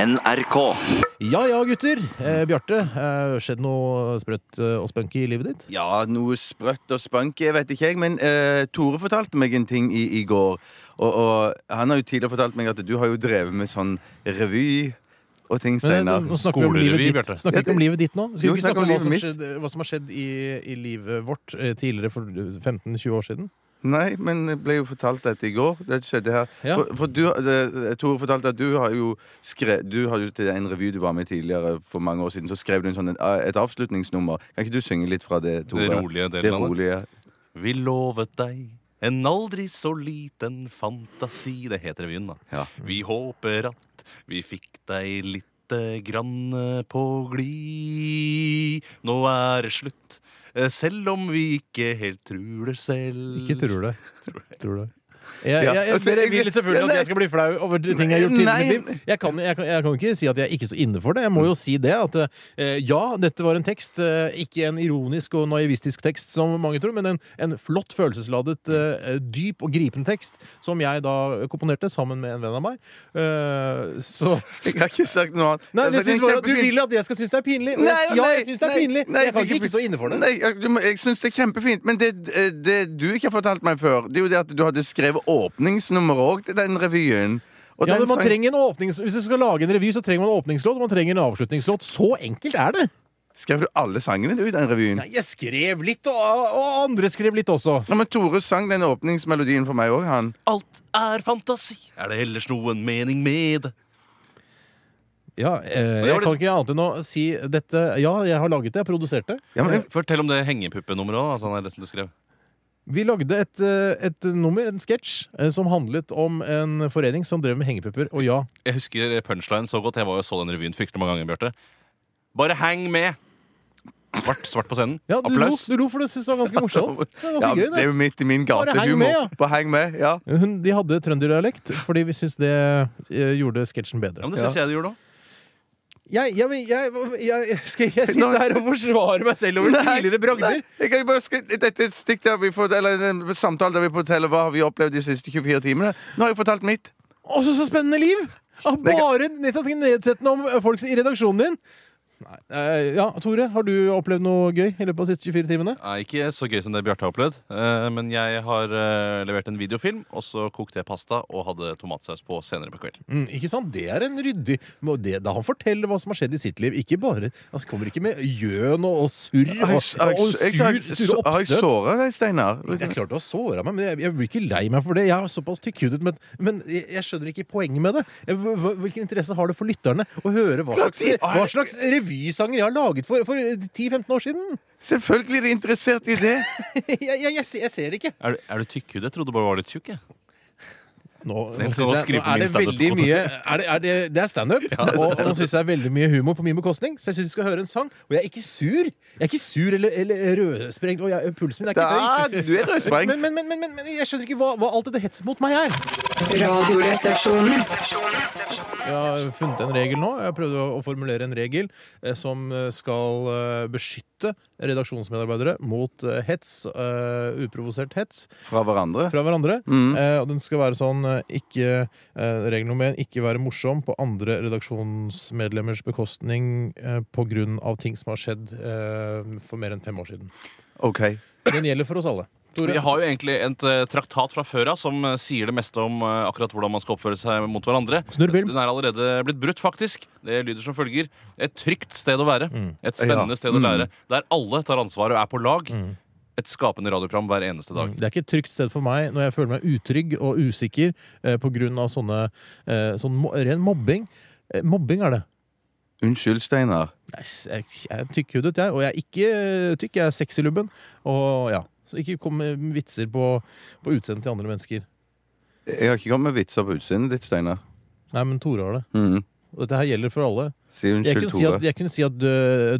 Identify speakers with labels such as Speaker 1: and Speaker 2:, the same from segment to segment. Speaker 1: NRK.
Speaker 2: Ja ja, gutter. Eh, Bjarte, eh, skjedd noe sprøtt eh, og spunky i livet ditt?
Speaker 3: Ja, noe sprøtt og spunky, vet ikke jeg. Men eh, Tore fortalte meg en ting i, i går. Og, og han har jo tidligere fortalt meg at du har jo drevet med sånn revy og
Speaker 2: Men,
Speaker 3: ting,
Speaker 2: eh,
Speaker 3: Steinar.
Speaker 2: nå snakker vi om
Speaker 4: Skolerevy,
Speaker 2: livet ditt,
Speaker 4: Bjarte.
Speaker 2: snakker vi ikke om livet ditt nå. Skal
Speaker 3: Jo,
Speaker 2: vi ikke
Speaker 3: snakk
Speaker 2: snakke
Speaker 3: om
Speaker 2: om hva
Speaker 3: livet
Speaker 2: som,
Speaker 3: mitt.
Speaker 2: skjedde, hva som har skjedd i, i livet vårt eh, tidligere for 15-20 år siden?
Speaker 3: Nei, men jeg ble jo fortalt dette i går. Det skjedde her.
Speaker 2: Ja.
Speaker 3: For, for du, eh, Tore fortalte at du har jo skre, Du har jo til en revy du var med i tidligere for mange år siden, så skrev du en sånn, et avslutningsnummer. Kan ikke du synge litt fra det, Tore?
Speaker 4: Det rolige delen
Speaker 3: Det
Speaker 4: av det.
Speaker 3: rolige.
Speaker 4: Vi lovet deg en aldri så liten fantasi Det heter revyen, da.
Speaker 3: Ja.
Speaker 4: Vi håper at vi fikk deg lite grann eh, på glid. Nå er det slutt, eh, selv om vi ikke helt tror det selv.
Speaker 2: Ikke tror det. Tror det. Jeg,
Speaker 3: Ja.
Speaker 2: jeg, jeg,
Speaker 3: Altså,
Speaker 2: dere
Speaker 3: jeg-
Speaker 2: vil selvfølgelig
Speaker 3: Nei.
Speaker 2: at jeg skal bli flau over de ting jeg har gjort tidligere i mitt
Speaker 3: Nei.
Speaker 2: liv. Jeg kan, jeg, kan, jeg kan ikke si at jeg ikke står inne for det. Jeg må jo si det. At eh, ja, dette var en tekst. eh, ikke en ironisk og naivistisk tekst, som mange tror, men en, en flott, følelsesladet, eh, dyp og gripende tekst som jeg da komponerte sammen med en venn av meg. Eh, så
Speaker 3: Jeg har ikke sagt noe annet.
Speaker 2: Nei,
Speaker 3: Jeg har
Speaker 2: Altså, det
Speaker 3: sagt
Speaker 2: syns
Speaker 3: en
Speaker 2: bare, du
Speaker 3: kjempefin-
Speaker 2: vil at jeg skal synes det er pinlig. Og jeg, ja, jeg syns det er pinlig. men jeg kan ikke stå inne for det.
Speaker 3: Nei, jeg, du må- jeg syns det er kjempefint. Men det, eh, det du ikke har fortalt meg før, det er jo det at du hadde skrevet åpningsnummer òg til den revyen. Og
Speaker 2: Ja,
Speaker 3: den
Speaker 2: men man
Speaker 3: sang-
Speaker 2: trenger en åpnings... Hvis du skal lage en revy, så trenger man en åpningslåt og man trenger en avslutningslåt. Så enkelt er det!
Speaker 3: Skrev du alle sangene du i den revyen?
Speaker 2: Nei, jeg skrev litt, og, og andre skrev litt også.
Speaker 3: Ja, men Tore sang den åpningsmelodien for meg òg, han.
Speaker 4: Alt er fantasi. Er det ellers noen mening med det?
Speaker 2: Ja, eh,
Speaker 4: det var
Speaker 2: Jeg kan
Speaker 4: det-
Speaker 2: ikke annet enn å si dette. Ja, jeg har laget det. Jeg produserte.
Speaker 3: Ja, men,
Speaker 4: Fortell om det hengepuppenummeret òg, altså, det som du skrev.
Speaker 2: Vi lagde et, eh, et nummer, en sketsj, eh, som handlet om en forening som drev med hengepupper. Og ja,
Speaker 4: Jeg husker punchline så godt. Jeg var jo så den revyen fryktelig mange ganger, Bjarte. Bare hang med! Svart, svart på scenen.
Speaker 2: ja du, lo,
Speaker 4: Applaus.
Speaker 2: du lo, for du syntes det var ganske morsomt. Det var
Speaker 3: ja,
Speaker 2: ganske gøy,
Speaker 3: det
Speaker 2: det.
Speaker 3: er jo midt i min gate.
Speaker 2: Bare heng
Speaker 3: humor.
Speaker 2: med, ja.
Speaker 3: Bare heng med, ja.
Speaker 2: Hun, de hadde trønderdialekt fordi vi syntes det eh, gjorde sketsjen bedre.
Speaker 4: Ja, men det syns jeg du gjorde nå.
Speaker 2: Jeg, jeg, men jeg, jeg, skal jeg sitte
Speaker 3: Nå-
Speaker 2: her og forsvare meg selv over tidligere bragder?
Speaker 3: Nei, jeg kan jo bare skri- Dette er et stikk der vi får, eller en samtale der vi forteller hva har vi opplevd de siste 24 timene. Nå har jeg fortalt mitt.
Speaker 2: Også så spennende liv! Ah,
Speaker 3: Det kan-
Speaker 2: Bare nedsatt- nedsettende om eh, folk i redaksjonen din. Nei. eh, ja, Tore, har du opplevd noe gøy i løpet av de siste 24 timene?
Speaker 4: Nei, ikke så gøy som det Bjarte har opplevd. eh, Men jeg har eh, levert en videofilm, og så kokte jeg pasta og hadde tomatsaus på senere på kvelden.
Speaker 2: Mm, ikke sant? Det er en ryddig må det, Da han forteller hva som har skjedd i sitt liv, ikke bare Han kommer ikke med gjøn og, og surr
Speaker 3: Har
Speaker 2: og,
Speaker 3: jeg, har
Speaker 2: og
Speaker 3: jeg,
Speaker 2: sur,
Speaker 3: har jeg,
Speaker 2: sure
Speaker 3: har jeg
Speaker 2: oppstøt.
Speaker 3: såra deg, Steinar?
Speaker 2: Det er klart du har såra meg, men jeg, jeg blir ikke lei meg for det. Jeg er såpass tykkhudet, men, men jeg, jeg skjønner ikke poenget med det. Jeg, hva- hva- hvilken interesse har det for lytterne å høre hva slags, hva slags revysanger jeg har laget for, for 10-15 år siden?
Speaker 3: Selvfølgelig er de interessert i det.
Speaker 2: Jeg, jeg, jeg, ser- jeg ser det ikke.
Speaker 4: Er du, er du tykkhudet? Jeg trodde du bare var litt tjukk. jeg.
Speaker 2: Nå, nå,
Speaker 4: Den skal
Speaker 2: synes
Speaker 4: også
Speaker 2: jeg,
Speaker 4: skrive
Speaker 2: nå
Speaker 4: på
Speaker 2: er
Speaker 4: min
Speaker 2: det veldig
Speaker 4: standup-konto.
Speaker 2: mye er det, er det, det er standup, og og nå syns jeg det er veldig mye humor på min bekostning. Så jeg syns vi skal høre en sang. Og jeg er ikke sur. Jeg er ikke sur eller, eller rødsprengt, og jeg, pulsen min er ikke høy.
Speaker 3: Da, du er rødsprengt.
Speaker 2: Men, men, men, men, men, men jeg skjønner ikke hva, hva alt dette hetset mot meg er.
Speaker 5: Radioresepsjonen.
Speaker 2: Jeg har funnet en regel nå. Jeg prøvde å- å formulere en regel eh, som eh, skal eh, beskytte redaksjonsmedarbeidere mot eh, hets, eh, uprovosert hets
Speaker 3: Fra hverandre.
Speaker 2: fra hverandre. Eh, og den skal være sånn eh, ikke, eh, Regel nummer én ikke være morsom på andre redaksjonsmedlemmers bekostning eh, på grunn av ting som har skjedd eh, for mer enn fem år siden.
Speaker 3: OK.
Speaker 2: Den gjelder for oss alle. Tore, altså-
Speaker 4: Jeg har jo egentlig et eh, traktat fra før av som eh, sier det meste om eh, akkurat hvordan man skal oppføre seg mot hverandre.
Speaker 2: Snurr film.
Speaker 4: Den er allerede blitt brutt, faktisk. Det lyder som følger. Et trygt sted å være.
Speaker 2: Mm.
Speaker 4: Et spennende
Speaker 3: Ja.
Speaker 4: sted å lære. Der alle tar ansvar og er på lag.
Speaker 2: Mm.
Speaker 4: Et skapende radioprogram hver eneste dag.
Speaker 2: Det er ikke et trygt sted for meg når jeg føler meg utrygg og usikker eh, pga. sånne eh, sånn mo ren mobbing. Eh, mobbing er det.
Speaker 3: Unnskyld, Steinar.
Speaker 2: Nei, s- Jeg, jeg er tykkhudet, jeg. Og jeg er ikke eh, tykk, jeg er sexy lubben. Og ja. Så ikke kom med vitser på, på utseendet til andre mennesker.
Speaker 3: Jeg har ikke kommet med vitser på utseendet ditt, Steinar.
Speaker 2: Nei, men Tore har det.
Speaker 3: Mhm.
Speaker 2: Og dette her gjelder for alle.
Speaker 3: Si
Speaker 2: Jeg
Speaker 3: unnskyld,
Speaker 2: kunne si at,
Speaker 3: Tore.
Speaker 2: jeg kunne si at du,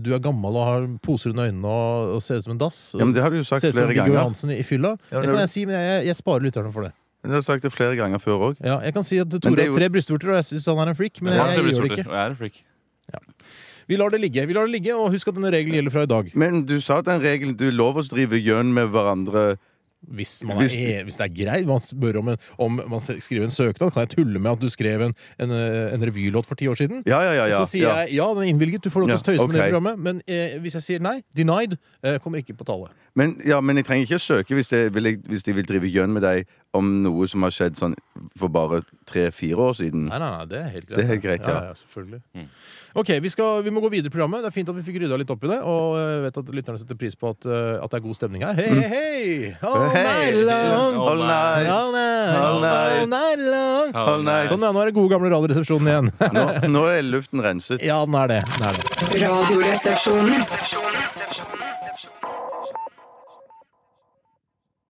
Speaker 2: du er gammel og har poser under øynene og, og ser ut som en dass.
Speaker 3: Ja, men det har du jo sagt
Speaker 2: ser ut som
Speaker 3: flere
Speaker 2: Viggo
Speaker 3: ganger.
Speaker 2: Johansen i, i fylla.
Speaker 3: Ja, men
Speaker 2: det
Speaker 3: det-
Speaker 2: kan jeg si, men jeg, jeg sparer lytterne for det.
Speaker 3: Du har sagt det flere ganger før òg.
Speaker 2: Ja, jeg kan si at
Speaker 3: det
Speaker 2: Tore har
Speaker 3: er jo-
Speaker 2: tre brystvorter, og jeg syns han er en freak. Men
Speaker 4: Jeg,
Speaker 2: jeg,
Speaker 4: jeg,
Speaker 2: gjør det ikke.
Speaker 4: jeg er en freak.
Speaker 2: Vi lar det ligge, vi lar det ligge, og husk at denne regelen gjelder fra i dag.
Speaker 3: Men du sa at den regelen du lover oss å drive gjøn med hverandre
Speaker 2: Hvis, man er,
Speaker 3: Hvis-
Speaker 2: e- hvis det er greit. Man spør om, en, om man skriver en søknad. Kan jeg tulle med at du skrev en, en, eh, en revylåt for ti år siden?
Speaker 3: Ja, ja, ja. ja,
Speaker 2: Så sier
Speaker 3: ja.
Speaker 2: jeg ja, den er innvilget, du får lov til å
Speaker 3: Ja,
Speaker 2: tøyse med det
Speaker 3: ok.
Speaker 2: programmet. Men eh, hvis jeg sier nei, denied, eh, kommer ikke på tale.
Speaker 3: Men, ja, men jeg trenger ikke å søke hvis, det, vil jeg, hvis de vil drive gjønn med deg om noe som har skjedd sånn for bare tre-fire år siden.
Speaker 2: Nei, nei, nei, det er helt greit.
Speaker 3: Det er helt greit, ja.
Speaker 2: ja, selvfølgelig. Ok, vi, skal, vi må gå videre i programmet. Det er fint at vi fikk rydda litt opp i det. Og jeg vet at lytterne setter pris på at, eh, at det er god stemning her. Hei, hei, hei! All
Speaker 3: Mm. Hei!
Speaker 2: night long!
Speaker 3: All night.
Speaker 2: All night,
Speaker 3: All night.
Speaker 2: all night long!
Speaker 3: All night.
Speaker 2: Sånn, ja, nå er det gode gamle Radioresepsjonen igjen.
Speaker 3: Nå, nå er luften renset.
Speaker 2: ja, den er det. Den er det.
Speaker 5: Radioresepsjonen.